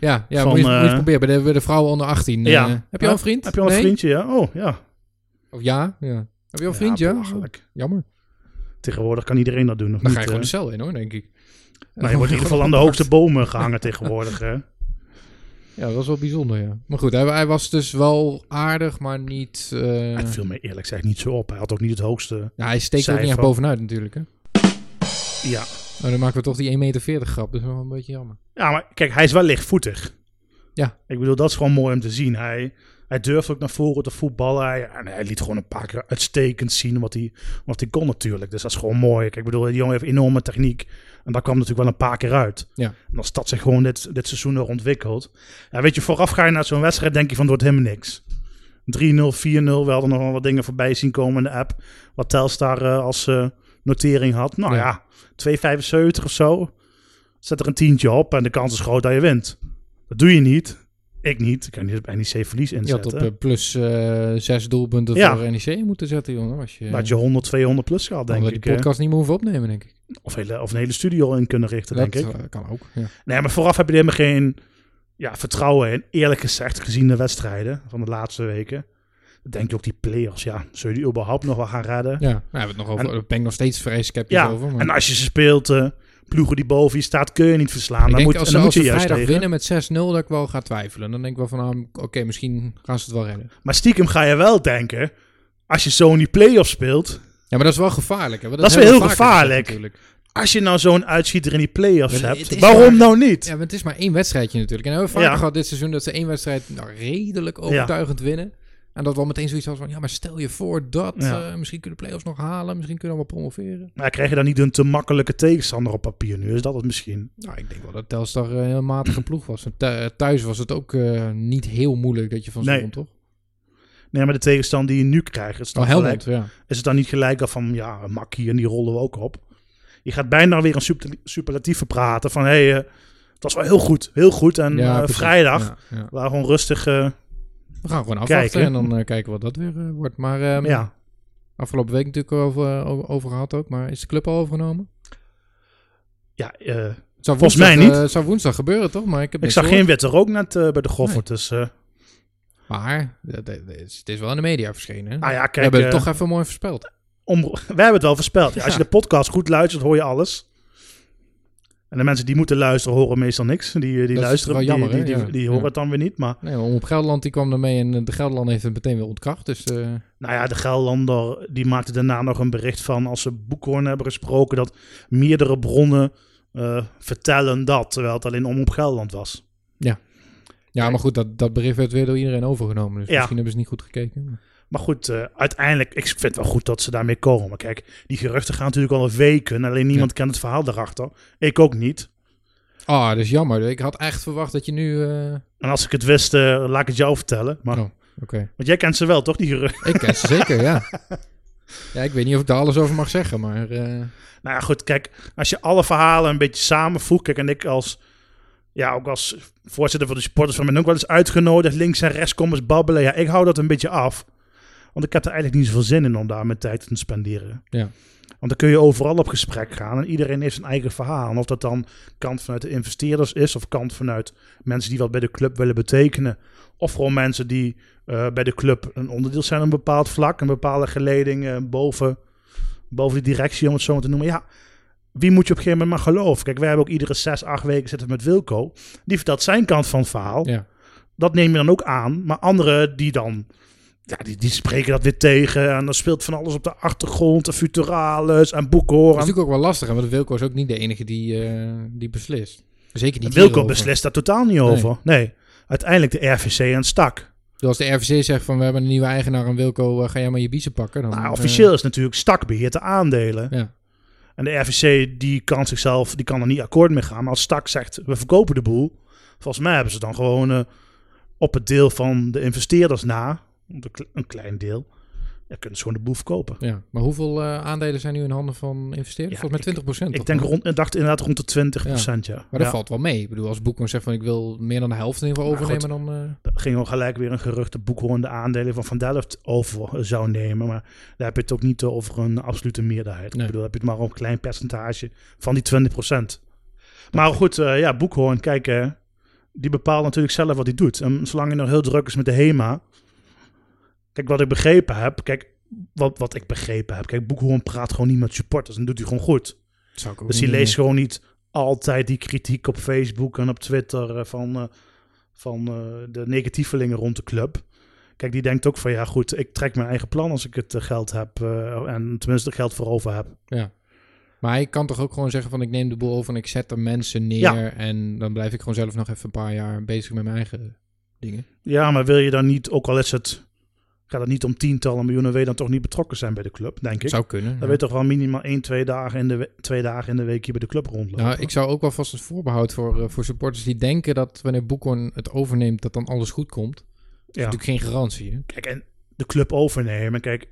Speaker 2: Ja, ja
Speaker 1: Van,
Speaker 2: moet, je, moet je
Speaker 1: eh,
Speaker 2: het proberen. Bij de, bij de vrouwen onder 18. eh,
Speaker 1: Ja.
Speaker 2: heb je al een vriend?
Speaker 1: Heb je al een
Speaker 2: Nee?
Speaker 1: vriendje? Ja? Oh, ja.
Speaker 2: Of ja? ja. Heb je al een vriend, ja? Oh,
Speaker 1: belachelijk.
Speaker 2: Jammer.
Speaker 1: Tegenwoordig kan iedereen dat doen, of
Speaker 2: Dan
Speaker 1: niet?
Speaker 2: ga je
Speaker 1: eh?
Speaker 2: gewoon dus- de cel in, hoor, denk ik.
Speaker 1: Nou, je wordt in ieder geval aan de hoogste bomen gehangen tegenwoordig. Hè?
Speaker 2: Ja, dat was wel bijzonder, ja. Maar goed, hij, hij was dus wel aardig, maar niet... eh,
Speaker 1: Het viel mij eerlijk gezegd niet zo op. Hij had ook niet het hoogste.
Speaker 2: ja, hij steekt er ook niet echt
Speaker 1: Cijfer.
Speaker 2: bovenuit natuurlijk, hè.
Speaker 1: Ja,
Speaker 2: Maar dan maken we toch die 1,40 meter grap. Dat is wel een beetje jammer.
Speaker 1: ja maar kijk, hij is wel lichtvoetig.
Speaker 2: Ja.
Speaker 1: Ik bedoel, dat is gewoon mooi om te zien. Hij, hij durft ook naar voren te voetballen. Hij, en hij liet gewoon een paar keer uitstekend zien wat hij, wat hij kon natuurlijk. Dus dat is gewoon mooi. Kijk, ik bedoel, die jongen heeft enorme techniek. En dat kwam natuurlijk wel een paar keer uit.
Speaker 2: Ja.
Speaker 1: En als dat zich gewoon dit, dit seizoen er ontwikkelt. Ja, weet je, vooraf ga je naar zo'n wedstrijd, denk je van, het wordt hem niks. 3-0, 4-0. We hadden nog wel wat dingen voorbij zien komen in de app. Wat Telstar eh, als eh, notering had. Nou ja,
Speaker 2: Ja.
Speaker 1: 2,75 of zo. Zet er een tientje op en de kans is groot dat je wint. Dat doe je niet. Ik niet. Ik kan niet op NEC verlies
Speaker 2: Je had op
Speaker 1: inzetten.
Speaker 2: eh, plus eh, zes doelpunten
Speaker 1: Ja.
Speaker 2: voor NEC moeten zetten, jongen. Als je,
Speaker 1: Dan had je 100, 200 plus gehad,
Speaker 2: eh, dan
Speaker 1: denk
Speaker 2: hadden
Speaker 1: ik.
Speaker 2: die
Speaker 1: eh.
Speaker 2: podcast niet meer hoeven opnemen, denk ik.
Speaker 1: Of, hele, of een hele studio in kunnen richten, denk
Speaker 2: dat
Speaker 1: ik.
Speaker 2: eh, kan ook, ja.
Speaker 1: Nee, maar vooraf heb je er helemaal geen ja, vertrouwen in. Eerlijk gezegd, gezien de wedstrijden van de laatste weken. denk je ook die players, ja, zul je die überhaupt nog wel gaan redden?
Speaker 2: Ja, nou, we hebben het nog over.
Speaker 1: En-
Speaker 2: Daar ben ik nog steeds vrij sceptisch
Speaker 1: Ja,
Speaker 2: over. Maar
Speaker 1: en als je ze speelt, eh, ploegen die boven je staat, kun je niet verslaan.
Speaker 2: ik
Speaker 1: Dan
Speaker 2: denk
Speaker 1: moet, en
Speaker 2: als ze,
Speaker 1: dan moet
Speaker 2: als
Speaker 1: je
Speaker 2: ze
Speaker 1: juist
Speaker 2: vrijdag
Speaker 1: tegen.
Speaker 2: winnen met 6-0, dat ik wel ga twijfelen. Dan denk ik wel van, ah, oké, misschien gaan ze het wel redden.
Speaker 1: Maar stiekem ga je wel denken, als je zo'n die play-off speelt,
Speaker 2: Ja, maar dat is wel gevaarlijk. Hè? want
Speaker 1: Dat is wel
Speaker 2: hebben we
Speaker 1: heel
Speaker 2: vaker gezien
Speaker 1: gevaarlijk.
Speaker 2: natuurlijk.
Speaker 1: als je nou zo'n uitschieter in die play-offs
Speaker 2: Maar het
Speaker 1: hebt,
Speaker 2: is
Speaker 1: waarom
Speaker 2: maar-
Speaker 1: nou niet?
Speaker 2: Ja, maar het is maar één wedstrijdje natuurlijk. En we hebben we vaker
Speaker 1: Ja.
Speaker 2: gehad dit seizoen dat ze één wedstrijd nou, redelijk overtuigend winnen. En dat we al meteen zoiets hadden van, ja, maar stel je voor dat,
Speaker 1: Ja.
Speaker 2: eh, misschien kunnen de play-offs nog halen, misschien kunnen we wel promoveren.
Speaker 1: Maar Nou, krijg je dan niet een te makkelijke tegenstander op papier nu? Is dat het misschien?
Speaker 2: Nou, ik denk wel dat Telstar eh, een heel matige ploeg was. En thu- thuis was het ook eh, niet heel moeilijk dat je van ze
Speaker 1: Nee.
Speaker 2: won, toch?
Speaker 1: Nee, maar de tegenstander die je nu krijgt, is, dan
Speaker 2: Oh, Helmond,
Speaker 1: gelijk-
Speaker 2: ja.
Speaker 1: is het dan niet gelijk al van, ja, een makkie en die rollen we ook op. Je gaat bijna weer een super- superlatieve praten van, hé, hey, eh, het was wel heel goed, heel goed. En
Speaker 2: ja
Speaker 1: eh,
Speaker 2: precies.
Speaker 1: vrijdag,
Speaker 2: Ja, ja.
Speaker 1: we waren gewoon rustig, eh,
Speaker 2: We gaan gewoon afwachten
Speaker 1: Kijken.
Speaker 2: en dan eh, kijken wat dat weer eh, wordt. Maar ehm,
Speaker 1: ja.
Speaker 2: afgelopen week natuurlijk over, over, over gehad ook. Maar is de club al overgenomen?
Speaker 1: ja eh,
Speaker 2: Het zou
Speaker 1: Volgens mij
Speaker 2: woensdag,
Speaker 1: niet.
Speaker 2: eh, zou woensdag gebeuren, toch? Maar ik, heb
Speaker 1: ik
Speaker 2: niks
Speaker 1: zag
Speaker 2: gehoord.
Speaker 1: geen witte rook net eh, bij de Goffert, dus... eh,
Speaker 2: Maar het is, het is wel in de media verschenen. hè?
Speaker 1: nou ja,
Speaker 2: we
Speaker 1: kijk,
Speaker 2: hebben het
Speaker 1: eh,
Speaker 2: toch even mooi voorspeld.
Speaker 1: om, wij hebben het wel voorspeld. Ja, als je de podcast goed luistert, hoor je alles. En de mensen die moeten luisteren, horen meestal niks. Die, eh, die
Speaker 2: is
Speaker 1: luisteren,
Speaker 2: wel jammer,
Speaker 1: die,
Speaker 2: hè?
Speaker 1: die, die,
Speaker 2: Ja.
Speaker 1: die horen
Speaker 2: Ja.
Speaker 1: het dan weer niet. Maar
Speaker 2: Nee, maar Omroep Gelderland die kwam ermee en eh, de Gelderland heeft het meteen weer ontkracht. Dus eh,
Speaker 1: nou ja, de Gelderlander die maakte daarna nog een bericht van... als ze Boekhoorn hebben gesproken, dat meerdere bronnen eh, vertellen dat. Terwijl het alleen Omroep Gelderland was.
Speaker 2: ja, maar goed, dat, dat bericht werd weer door iedereen overgenomen. Dus
Speaker 1: Ja.
Speaker 2: misschien hebben ze niet goed gekeken. Maar-
Speaker 1: Maar goed, eh, uiteindelijk, ik vind het wel goed dat ze daarmee komen. Maar kijk, die geruchten gaan natuurlijk al een weken. Alleen niemand kent het verhaal daarachter. Ik ook niet.
Speaker 2: Ah, dat is jammer. Ik had echt verwacht dat je nu... eh,
Speaker 1: En als ik het wist, eh, laat ik het jou vertellen. Maar,
Speaker 2: Oh. Oké.
Speaker 1: Want jij kent ze wel, toch, die geruchten?
Speaker 2: Ik ken ze zeker, ja. Ja, ik weet niet of ik daar alles over mag zeggen, maar... eh,
Speaker 1: Nou ja, goed, kijk, als je alle verhalen een beetje samenvoegt, kijk, en ik als, ja, ook als voorzitter van de supporters van ben ook wel eens uitgenodigd, links en rechts komen eens babbelen. Ja, ik hou dat een beetje af, want ik heb er eigenlijk niet zoveel zin in om daar mijn tijd te spenderen.
Speaker 2: Ja.
Speaker 1: Want dan kun je overal op gesprek gaan en iedereen heeft zijn eigen verhaal. En of dat dan kant vanuit de investeerders is, of kant vanuit mensen die wat bij de club willen betekenen, of gewoon mensen die eh, bij de club een onderdeel zijn op een bepaald vlak, een bepaalde geleding eh, boven, boven de directie, om het zo maar te noemen. Ja, wie moet je op een gegeven moment maar geloven? Kijk, wij hebben ook iedere zes, acht weken zitten we met Wilco. Die vertelt zijn kant van het verhaal.
Speaker 2: Ja.
Speaker 1: Dat neem je dan ook aan. Maar anderen die dan, ja, die, die spreken dat weer tegen. En dan speelt van alles op de achtergrond. En Futuralis en
Speaker 2: Dat is
Speaker 1: Boekhoorn.
Speaker 2: natuurlijk ook wel lastig, hè, want Wilco is ook niet de enige die, eh, die beslist. Zeker niet
Speaker 1: Wilco
Speaker 2: hierover.
Speaker 1: beslist daar totaal niet over. Nee, uiteindelijk de RVC en Stak.
Speaker 2: Dus als de RVC zegt van we hebben een nieuwe eigenaar en Wilco, eh, ga jij maar je biezen pakken. Dan,
Speaker 1: Maar
Speaker 2: eh,
Speaker 1: Nou, officieel is natuurlijk Stak beheert de aandelen.
Speaker 2: ja.
Speaker 1: En de RVC die kan zichzelf, die kan er niet akkoord mee gaan. Maar als Stak zegt, we verkopen de boel. Volgens mij hebben ze dan gewoon eh, op het deel van de investeerders na, op een kle- een klein deel, ja, kunnen ze gewoon de boel verkopen.
Speaker 2: ja. Maar hoeveel eh, aandelen zijn nu in handen van investeerders?
Speaker 1: Ja,
Speaker 2: Volgens mij 20%. toch?
Speaker 1: Ik denk rond, ik dacht inderdaad rond de 20 procent, ja.
Speaker 2: Maar dat
Speaker 1: Ja,
Speaker 2: valt wel mee. Ik bedoel, als Boekman zegt van ik wil meer dan de helft in ieder geval
Speaker 1: Maar
Speaker 2: overnemen, dan... eh,
Speaker 1: Er ging ook gelijk weer een gerucht dat Boekhoorn de aandelen van Van Delft over zou nemen. Maar daar heb je het ook niet eh, over een absolute meerderheid.
Speaker 2: Nee.
Speaker 1: Ik bedoel, heb je het maar over een klein percentage van die 20 procent. Maar goed, eh, ja, Boekhoorn, kijk, eh, die bepaalt natuurlijk zelf wat hij doet. En zolang hij nog heel druk is met de HEMA... Kijk, wat ik begrepen heb... Kijk, wat, wat ik begrepen heb... Kijk, Boekhoorn praat gewoon niet met supporters en doet hij gewoon goed.
Speaker 2: dat zou ik ook
Speaker 1: Dus die
Speaker 2: niet
Speaker 1: leest
Speaker 2: doen.
Speaker 1: gewoon niet altijd die kritiek op Facebook en op Twitter eh, van, eh, van eh, de negatievelingen rond de club. Kijk, die denkt ook van ja, goed, ik trek mijn eigen plan als ik het eh, geld heb. eh, en tenminste er geld voor over heb.
Speaker 2: Maar hij kan toch ook gewoon zeggen van ik neem de boel over en ik zet er mensen neer.
Speaker 1: Ja.
Speaker 2: En dan blijf ik gewoon zelf nog even een paar jaar bezig met mijn eigen dingen.
Speaker 1: Ja, maar wil je dan niet, ook al is het, gaat het niet om tientallen miljoenen, wil je dan toch niet betrokken zijn bij de club, denk ik.
Speaker 2: Zou kunnen.
Speaker 1: Dan
Speaker 2: ja.
Speaker 1: weet toch wel minimaal één, twee dagen in de, we- twee dagen in de week hier bij de club rondlopen.
Speaker 2: Nou, ik zou ook wel vast een voorbehoud voor, eh, voor supporters die denken dat wanneer Boekhoorn het overneemt, dat dan alles goed komt. Dat
Speaker 1: ja.
Speaker 2: is natuurlijk geen garantie. Hè?
Speaker 1: Kijk, en de club overnemen. Kijk,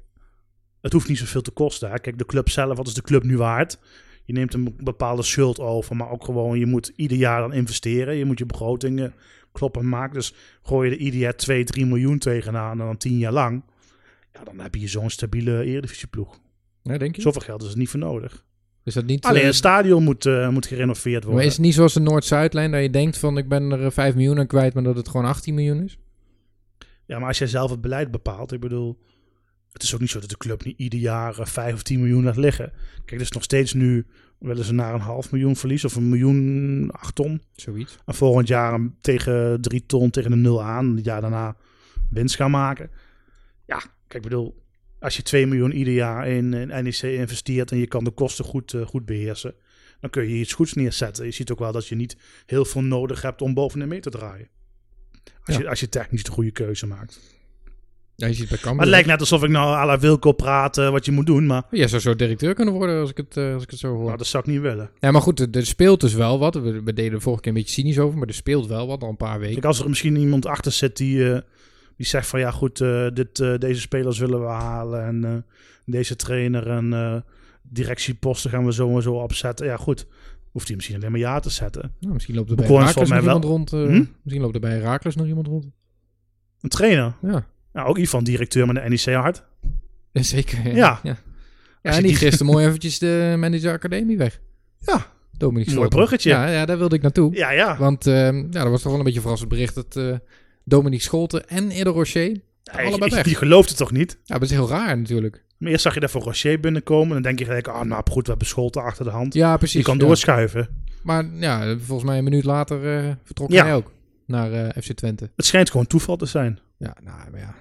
Speaker 1: het hoeft niet zoveel te kosten. Hè? Kijk, de club zelf, wat is de club nu waard? Je neemt een bepaalde schuld over, maar ook gewoon, je moet ieder jaar dan investeren. Je moet je begrotingen kloppen maken. Dus gooi je er ieder jaar 2, 3 miljoen tegenaan en dan 10 jaar lang. Ja, dan heb je zo'n stabiele eredivisieploeg.
Speaker 2: Ja, denk je?
Speaker 1: Zoveel geld is er niet voor nodig.
Speaker 2: Is dat niet...
Speaker 1: Alleen
Speaker 2: eh,
Speaker 1: het stadion moet, eh, moet gerenoveerd worden.
Speaker 2: maar is het niet zoals de Noord-Zuidlijn, dat je denkt van ik ben er eh, 5 miljoen aan kwijt, maar dat het gewoon 18 miljoen is?
Speaker 1: Ja, maar als jij zelf het beleid bepaalt, ik bedoel, het is ook niet zo dat de club niet ieder jaar eh, 5 of 10 miljoen laat liggen. Kijk, er is nog steeds nu wel eens naar een half miljoen verlies of een miljoen acht ton.
Speaker 2: Zoiets.
Speaker 1: En volgend jaar hem tegen 3 ton, tegen de nul aan, het jaar daarna winst gaan maken. Ja, kijk, ik bedoel, als je 2 miljoen ieder jaar in, in NEC investeert en je kan de kosten goed, eh, goed beheersen, dan kun je iets goeds neerzetten. Je ziet ook wel dat je niet heel veel nodig hebt om bovenin mee te draaien. Als,
Speaker 2: Ja.
Speaker 1: je, als je technisch de goede keuze maakt.
Speaker 2: Ja, je ziet bij Cambuur. Oh,
Speaker 1: Maar het lijkt net alsof ik nou à la Wilco praat eh, wat je moet doen, maar
Speaker 2: Jij zou zo directeur kunnen worden als ik het, eh, als ik het zo hoor.
Speaker 1: nou, dat zou ik niet willen.
Speaker 2: Ja, maar goed, er- er speelt dus wel wat. We, we deden er vorige keer een beetje cynisch over, maar er speelt wel wat al een paar weken.
Speaker 1: Kijk, als er misschien iemand achter zit die, eh, die zegt van ja goed, eh, dit, eh, deze spelers willen we halen en eh, deze trainer en eh, directieposten gaan we zo en zo opzetten. Ja goed, hoeft hij misschien alleen maar ja te zetten.
Speaker 2: Nou, misschien loopt er bij
Speaker 1: Begon het
Speaker 2: Herakles nog
Speaker 1: volgens mij
Speaker 2: iemand rond. eh,
Speaker 1: Hm?
Speaker 2: Misschien loopt er bij Herakles nog iemand rond.
Speaker 1: Een trainer,
Speaker 2: Ja,
Speaker 1: nou, ook iemand directeur met de NEC hart.
Speaker 2: zeker. Ja.
Speaker 1: Ja.
Speaker 2: ja.
Speaker 1: je
Speaker 2: en die
Speaker 1: die-
Speaker 2: gisteren mooi eventjes de manager academie weg.
Speaker 1: Ja.
Speaker 2: Dominique
Speaker 1: Mooi
Speaker 2: Slot.
Speaker 1: bruggetje.
Speaker 2: Ja, ja, daar wilde ik naartoe.
Speaker 1: Ja, ja.
Speaker 2: Want ehm ja, dat was toch wel een beetje een verrassend bericht dat eh Dominique Scholten en Edo Rocher
Speaker 1: Hey,
Speaker 2: allebei
Speaker 1: je,
Speaker 2: weg.
Speaker 1: je gelooft het toch niet?
Speaker 2: Ja, dat is heel raar natuurlijk.
Speaker 1: Maar eerst zag je daar voor Rocher binnenkomen en dan denk je gelijk, ah nou goed, we hebben Scholten achter de hand.
Speaker 2: Ja, precies.
Speaker 1: Je kan
Speaker 2: ja.
Speaker 1: doorschuiven.
Speaker 2: Maar ja, volgens mij een minuut later eh, vertrok
Speaker 1: Ja.
Speaker 2: hij ook naar eh, FC Twente.
Speaker 1: Het schijnt gewoon toeval te zijn.
Speaker 2: Ja, nou maar ja.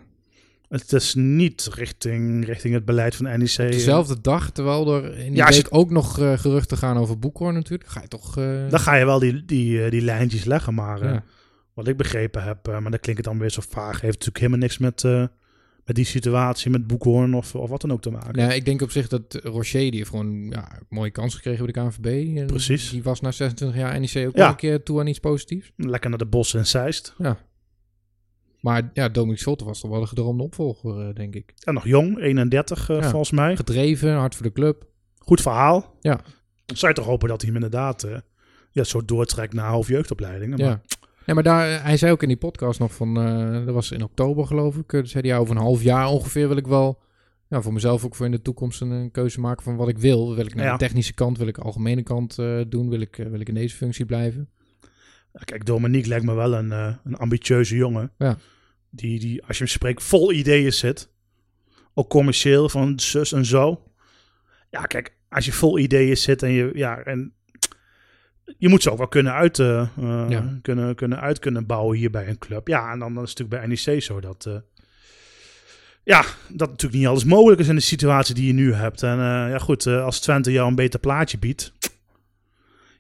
Speaker 1: Het is niet richting, richting het beleid van E NEC.
Speaker 2: Op dezelfde dag, terwijl er in die
Speaker 1: Eh, Ja, als je-
Speaker 2: week ook nog eh, geruchten gaan over Boekhorn natuurlijk. Ga je toch... eh,
Speaker 1: Dan ga je wel die, die, eh, die lijntjes leggen, maar eh,
Speaker 2: ja.
Speaker 1: wat ik begrepen heb, eh, maar dat klinkt het dan weer zo vaag, heeft natuurlijk helemaal niks met, eh, met die situatie, met Boekhoorn of, of wat dan ook te maken.
Speaker 2: Nou, ik denk op zich dat Rocher, die heeft gewoon ja, een mooie kans gekregen bij de KNVB. En
Speaker 1: Precies.
Speaker 2: Die was na 26 jaar NEC ook
Speaker 1: Ja.
Speaker 2: nog een keer toe aan iets positiefs.
Speaker 1: Lekker naar de bossen en Zeist.
Speaker 2: Maar ja, Dominic Schotten was toch wel de gedroomde opvolger, eh, denk ik.
Speaker 1: En nog jong, 31 eh,
Speaker 2: Ja.
Speaker 1: volgens mij.
Speaker 2: Gedreven, hard voor de club.
Speaker 1: Goed verhaal.
Speaker 2: Ja.
Speaker 1: Dan zou je toch hopen dat hij hem inderdaad eh, ja, zo doortrekt naar hoofdjeugdopleidingen. Maar
Speaker 2: Ja. Ja, maar daar, eh, hij zei ook in die podcast nog van, eh, dat was in oktober geloof ik, eh, zei hij, ja, over een half jaar ongeveer wil ik wel, ja, voor mezelf ook voor in de toekomst een, een keuze maken van wat ik wil. Wil ik naar
Speaker 1: Ja.
Speaker 2: de technische kant, wil ik de algemene kant eh, doen, wil ik, eh, wil ik in deze functie blijven?
Speaker 1: ja, kijk, Dominique lijkt me wel een, eh, een ambitieuze jongen.
Speaker 2: Ja.
Speaker 1: Die, die, als je hem spreekt, vol ideeën zit. Ook commercieel, van zus en zo. Ja, kijk, als je vol ideeën zit en je, ja, en je moet ze ook wel kunnen uit, eh, eh,
Speaker 2: Ja.
Speaker 1: kunnen, kunnen uit kunnen bouwen hier bij een club. Ja, en dan, dan is het natuurlijk bij NEC zo dat, eh, ja, dat natuurlijk niet alles mogelijk is in de situatie die je nu hebt. En eh, ja, goed, eh, als Twente jou een beter plaatje biedt.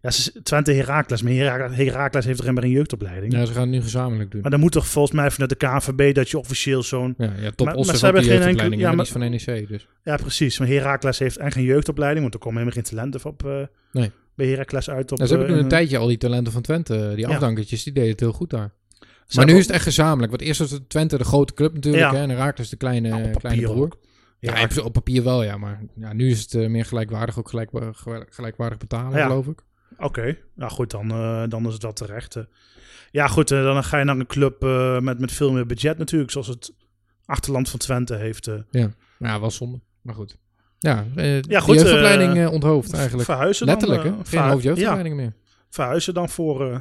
Speaker 1: Ja, ze- Twente Herakles, maar Herakles, Herakles heeft er helemaal geen jeugdopleiding.
Speaker 2: Ja, ze gaan het nu gezamenlijk doen.
Speaker 1: Maar dan moet toch volgens mij vanuit de KNVB dat je officieel zo'n...
Speaker 2: Ja, ja top
Speaker 1: maar
Speaker 2: Osser
Speaker 1: ze
Speaker 2: van
Speaker 1: hebben
Speaker 2: de
Speaker 1: geen
Speaker 2: jeugdopleiding,
Speaker 1: enkele- ja,
Speaker 2: maar
Speaker 1: maar-
Speaker 2: niet van NEC dus.
Speaker 1: Ja, precies. Maar Herakles heeft en geen jeugdopleiding, want er komen helemaal geen talenten op eh,
Speaker 2: Nee.
Speaker 1: bij Herakles uit. Op,
Speaker 2: Nou, ze
Speaker 1: eh,
Speaker 2: hebben nu een
Speaker 1: eh,
Speaker 2: tijdje al die talenten van Twente, eh,
Speaker 1: Ja.
Speaker 2: die afdankertjes, die deden het heel goed daar.
Speaker 1: ze
Speaker 2: Maar nu
Speaker 1: hebben-
Speaker 2: is het echt gezamenlijk. Want eerst was het Twente de grote club natuurlijk.
Speaker 1: Ja.
Speaker 2: Hè, en dan raakt dus de kleine,
Speaker 1: Nou, op
Speaker 2: kleine
Speaker 1: papier
Speaker 2: broer.
Speaker 1: ook.
Speaker 2: Ja,
Speaker 1: Herakles-
Speaker 2: op papier wel, ja. Maar ja, nu is het eh, meer gelijkwaardig. Ook gelijk, eh, gelijk- gelijkwaardig betalen,
Speaker 1: Ja.
Speaker 2: geloof ik.
Speaker 1: Oké, nou goed, dan, eh, dan is dat terecht. eh. Ja, goed, eh, dan ga je naar een club eh, met, met veel meer budget natuurlijk, zoals het achterland van Twente heeft. eh,
Speaker 2: Maar ja, Nou, wel zonde. Maar goed. Ja, eh
Speaker 1: Ja,
Speaker 2: de
Speaker 1: goed,
Speaker 2: jeugdopleiding
Speaker 1: eh,
Speaker 2: eh, onthoofd eigenlijk.
Speaker 1: Verhuizen
Speaker 2: Letterlijk,
Speaker 1: dan,
Speaker 2: hè.
Speaker 1: eh,
Speaker 2: Geen
Speaker 1: verhu- ja,
Speaker 2: hoofdjeugdopleidingen meer.
Speaker 1: verhuizen dan voor, eh,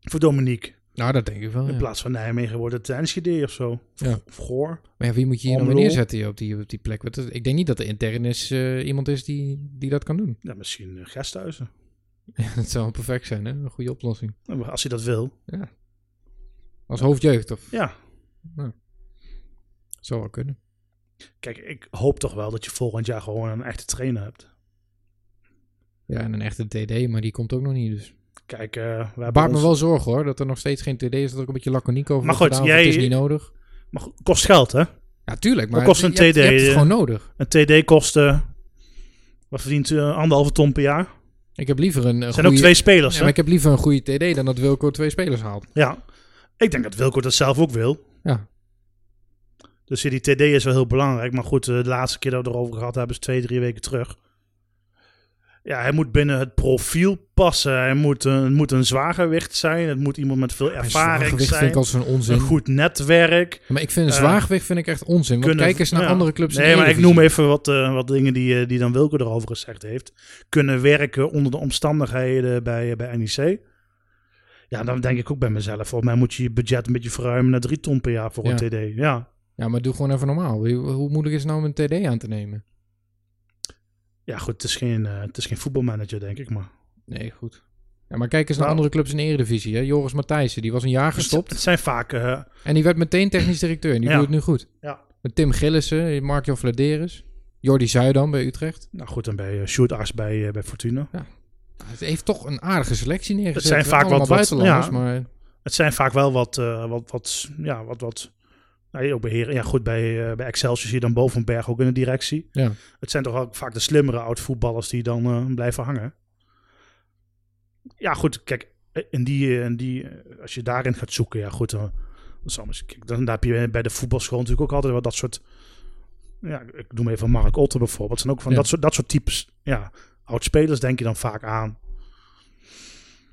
Speaker 1: voor Dominique.
Speaker 2: Nou, dat denk ik wel,
Speaker 1: In
Speaker 2: ja.
Speaker 1: plaats van Nijmegen wordt het Enschede of zo. Of,
Speaker 2: Ja.
Speaker 1: of Goor.
Speaker 2: Maar ja, wie moet je hier nou
Speaker 1: Omloop.
Speaker 2: weer neerzetten hier op die, op die plek? Want dat- ik denk niet dat er intern is, eh, iemand is die, die dat kan doen.
Speaker 1: Ja, misschien eh, Gesthuizen.
Speaker 2: dat zou perfect zijn, hè. Een goede oplossing.
Speaker 1: Nou, Als hij dat wil.
Speaker 2: Als hoofdjeugd, of Nou,
Speaker 1: Ja,
Speaker 2: zou wel kunnen.
Speaker 1: kijk, ik hoop toch wel dat je volgend jaar gewoon een echte trainer hebt.
Speaker 2: Ja, en een echte TD, maar die komt ook nog niet, dus...
Speaker 1: Kijk, eh, we hebben
Speaker 2: Baart me
Speaker 1: ons-
Speaker 2: wel zorgen hoor, dat er nog steeds geen TD is. Dat er ook een beetje laconiek over
Speaker 1: Maar
Speaker 2: wordt
Speaker 1: goed,
Speaker 2: gedaan, of Het
Speaker 1: jij-
Speaker 2: is niet nodig.
Speaker 1: Maar goed, kost geld, hè?
Speaker 2: Ja, tuurlijk, maar
Speaker 1: Wat kost
Speaker 2: het-
Speaker 1: een
Speaker 2: je hebt- Je
Speaker 1: TD,
Speaker 2: hebt het
Speaker 1: eh?
Speaker 2: gewoon nodig.
Speaker 1: Een TD kost, eh, wat verdient eh, anderhalve ton per jaar?
Speaker 2: Ik heb liever een, een
Speaker 1: Er zijn ook
Speaker 2: goede-
Speaker 1: twee
Speaker 2: Ja,
Speaker 1: spelers,
Speaker 2: maar
Speaker 1: hè?
Speaker 2: ik heb liever een goede TD dan dat Wilco twee spelers haalt.
Speaker 1: Ja. Ik denk dat Wilco dat zelf ook wil.
Speaker 2: Ja.
Speaker 1: Dus die TD is wel heel belangrijk. Maar goed, eh, de laatste keer dat we erover gehad hebben is twee, drie weken terug. Ja, hij moet binnen het profiel passen. Hij moet, een moet een zwaargewicht zijn. Het moet iemand met veel ervaring
Speaker 2: Zwaargewicht vind
Speaker 1: zijn.
Speaker 2: ik als een onzin.
Speaker 1: Een goed netwerk.
Speaker 2: Maar ik vind een
Speaker 1: Eh,
Speaker 2: zwaargewicht vind ik echt onzin. Want
Speaker 1: kunnen-
Speaker 2: kijk eens naar
Speaker 1: ja.
Speaker 2: andere clubs. in de
Speaker 1: Nee, maar ik
Speaker 2: Eredivisie.
Speaker 1: noem even wat, eh, wat dingen die, eh, die dan Wilco erover gezegd heeft. Kunnen werken onder de omstandigheden bij, eh, bij NEC. E Ja, dan denk ik ook bij mezelf. Volgens mij moet je je budget een beetje verruimen naar drie ton per jaar voor een TD. Ja.
Speaker 2: Ja, maar doe gewoon even normaal. Hoe, hoe moeilijk is het nou om een TD aan te nemen?
Speaker 1: Ja, goed, het is geen, eh, het is geen voetbalmanager, denk ik, maar...
Speaker 2: Nee, goed. Ja, maar kijk eens naar
Speaker 1: Nou.
Speaker 2: andere clubs in de Eredivisie. Hè? Joris Matthijssen, die was een jaar gestopt.
Speaker 1: Het zijn vaak... eh,
Speaker 2: En die werd meteen technisch directeur. En die
Speaker 1: Ja.
Speaker 2: doet het nu goed.
Speaker 1: Ja.
Speaker 2: Met Tim Gillissen, Mark-Jan Vladeres, Jordi Zuidam bij Utrecht.
Speaker 1: nou goed, dan bij je Sjoerd Ars bij, eh, bij Fortuna.
Speaker 2: Nou, Het heeft toch een aardige selectie neergezet.
Speaker 1: Het zijn vaak
Speaker 2: Allemaal
Speaker 1: wat- wat-
Speaker 2: buitenlanders,
Speaker 1: ja.
Speaker 2: maar
Speaker 1: Het zijn vaak wel wat... eh, wat, wat ja, wat... wat nou, ook bij Heren- ja goed, bij, eh, bij Excelsior zie je dan Bovenberg ook in de directie.
Speaker 2: Ja.
Speaker 1: Het zijn toch ook vaak de slimmere oud-voetballers die dan eh, blijven hangen. Ja goed, kijk, eh, in die, eh, in die, eh, als je daarin gaat zoeken, ja goed, eh, dat is anders. Kijk, dan, daar heb je bij de voetbalschool natuurlijk ook altijd wel dat soort... Ja, ik noem even Mark Otter bijvoorbeeld. Het zijn ook van
Speaker 2: Ja.
Speaker 1: dat, soort, dat soort types. Ja, oud-spelers denk je dan vaak aan.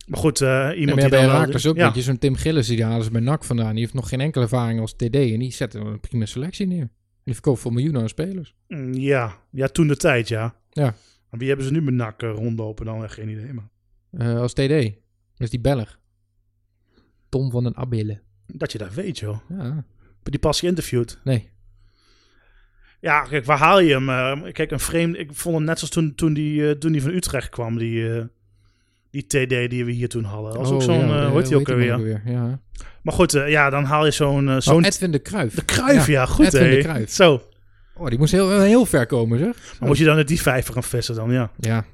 Speaker 1: Maar goed, eh,
Speaker 2: Ja,
Speaker 1: iemand
Speaker 2: maar ja,
Speaker 1: die
Speaker 2: bij
Speaker 1: dan wel-
Speaker 2: Herakles ook
Speaker 1: ja.
Speaker 2: niet. Je Zo'n Tim Gillissen, die halen ze bij NAC vandaan. Die heeft nog geen enkele ervaring als TD. En die zet een prima selectie neer. Die verkoopt voor miljoenen aan spelers.
Speaker 1: Mm, Ja, ja toen de tijd, ja.
Speaker 2: Ja.
Speaker 1: Maar wie hebben ze nu met nak eh, rondlopen dan? Eh, Geen idee, maar...
Speaker 2: Eh, als TD. Dat is die Belg. Tom van den Abille.
Speaker 1: Dat je dat weet, joh.
Speaker 2: Ja.
Speaker 1: Die pas geïnterviewd.
Speaker 2: Nee.
Speaker 1: Ja, kijk, waar haal je hem? Eh, kijk, een vreemde... Ik vond hem net zoals toen, toen, die, eh, toen die van Utrecht kwam, die... eh, die TD die we hier toen hadden. Dat was ook
Speaker 2: Oh,
Speaker 1: zo'n...
Speaker 2: ja,
Speaker 1: eh,
Speaker 2: eh,
Speaker 1: hoe heet die ook
Speaker 2: hem
Speaker 1: alweer?
Speaker 2: Ja.
Speaker 1: Maar goed, eh, ja, dan haal je zo'n... eh, zo'n
Speaker 2: Oh, Edwin de Kruijf.
Speaker 1: de Kruif, ja. goed,
Speaker 2: Edwin
Speaker 1: hè?
Speaker 2: de Cruijff.
Speaker 1: Zo.
Speaker 2: Oh, die moest heel, heel ver komen, zeg.
Speaker 1: Maar moet je dan uit die vijver gaan vissen dan, ja.
Speaker 2: Ja.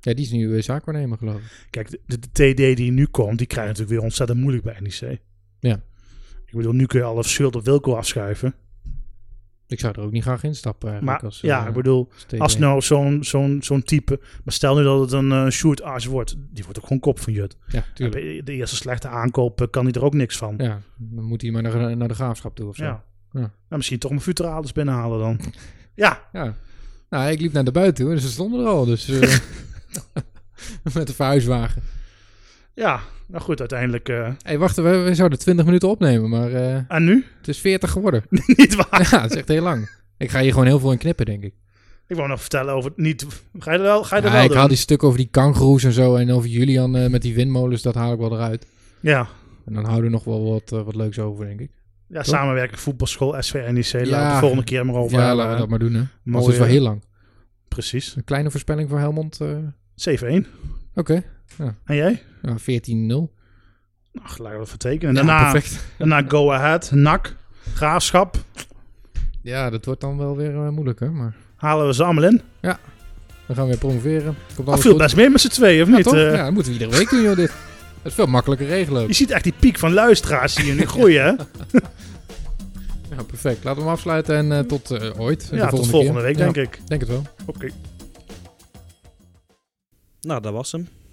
Speaker 2: Ja, die is nu eh, zaakwaarnemer, geloof ik.
Speaker 1: Kijk, de, de TD die nu komt, die krijgt natuurlijk weer ontzettend moeilijk bij NEC.
Speaker 2: Ja.
Speaker 1: Ik bedoel, nu kun je al of Schuld of Wilco afschuiven.
Speaker 2: Ik zou er ook niet graag instappen eigenlijk.
Speaker 1: Maar
Speaker 2: als, eh,
Speaker 1: ja, ik bedoel,
Speaker 2: als TD.
Speaker 1: als nou zo'n zo'n zo'n type... Maar stel nu dat het een eh shoot arts wordt. Die wordt ook gewoon kop van Jut.
Speaker 2: Ja, tuurlijk.
Speaker 1: Bij De eerste slechte aankoop eh, kan hij er ook niks van.
Speaker 2: Ja, dan moet hij maar naar, naar de graafschap toe of zo.
Speaker 1: Ja.
Speaker 2: Ja.
Speaker 1: Nou, misschien toch mijn futurales binnenhalen dan. ja,
Speaker 2: Ja. Nou, ik liep naar de buiten toe en ze stonden er al. Dus, eh, met de verhuiswagen.
Speaker 1: ja. Nou goed, uiteindelijk. eh,
Speaker 2: Hé, hey, wacht, we, we zouden 20 minuten opnemen, maar eh,
Speaker 1: en nu?
Speaker 2: het is 40 geworden.
Speaker 1: niet waar.
Speaker 2: ja, het is echt heel lang. Ik ga hier gewoon heel veel in knippen, denk ik.
Speaker 1: Ik wou nog vertellen over het niet. Ga je er wel? Ga je er
Speaker 2: Ja,
Speaker 1: wel
Speaker 2: ik
Speaker 1: doen?
Speaker 2: haal die stukken over die kangoeroes en zo en over Julian eh, met die windmolens, dat haal ik wel eruit.
Speaker 1: Ja.
Speaker 2: En dan houden we nog wel wat, eh, wat leuks over, denk ik.
Speaker 1: Ja, samenwerking voetbalschool, SV, NEC. Laten we
Speaker 2: Ja.
Speaker 1: de volgende keer maar over.
Speaker 2: ja,
Speaker 1: hebben,
Speaker 2: laten we
Speaker 1: hè.
Speaker 2: dat maar doen, hè. Maar het
Speaker 1: eh, Mooie-
Speaker 2: is wel heel lang.
Speaker 1: Precies.
Speaker 2: Een kleine voorspelling voor Helmond. eh,
Speaker 1: 7-1.
Speaker 2: Oké,
Speaker 1: En jij?
Speaker 2: nou 14-0.
Speaker 1: Ach, laten we dat vertekenen.
Speaker 2: Ja,
Speaker 1: Daarna,
Speaker 2: perfect.
Speaker 1: daarna Go Ahead, NAC, Graafschap.
Speaker 2: Ja, dat wordt dan wel weer eh, moeilijk, hè. Maar
Speaker 1: Halen we ze allemaal in.
Speaker 2: we gaan weer promoveren. Komt
Speaker 1: Dat
Speaker 2: alles
Speaker 1: viel
Speaker 2: goed.
Speaker 1: best mee met z'n tweeën, of
Speaker 2: Ja,
Speaker 1: niet?
Speaker 2: toch?
Speaker 1: Eh,
Speaker 2: ja, dat moeten we iedere week doen, joh, dit. Dat is veel makkelijker regelen ook.
Speaker 1: Je ziet echt die piek van luisteraars hier nu groeien, hè?
Speaker 2: Ja, perfect. Laten we hem afsluiten en eh, tot eh, ooit.
Speaker 1: Mm. Ja, tot volgende week, denk ik.
Speaker 2: Denk het wel.
Speaker 1: Oké. Nou, dat was hem.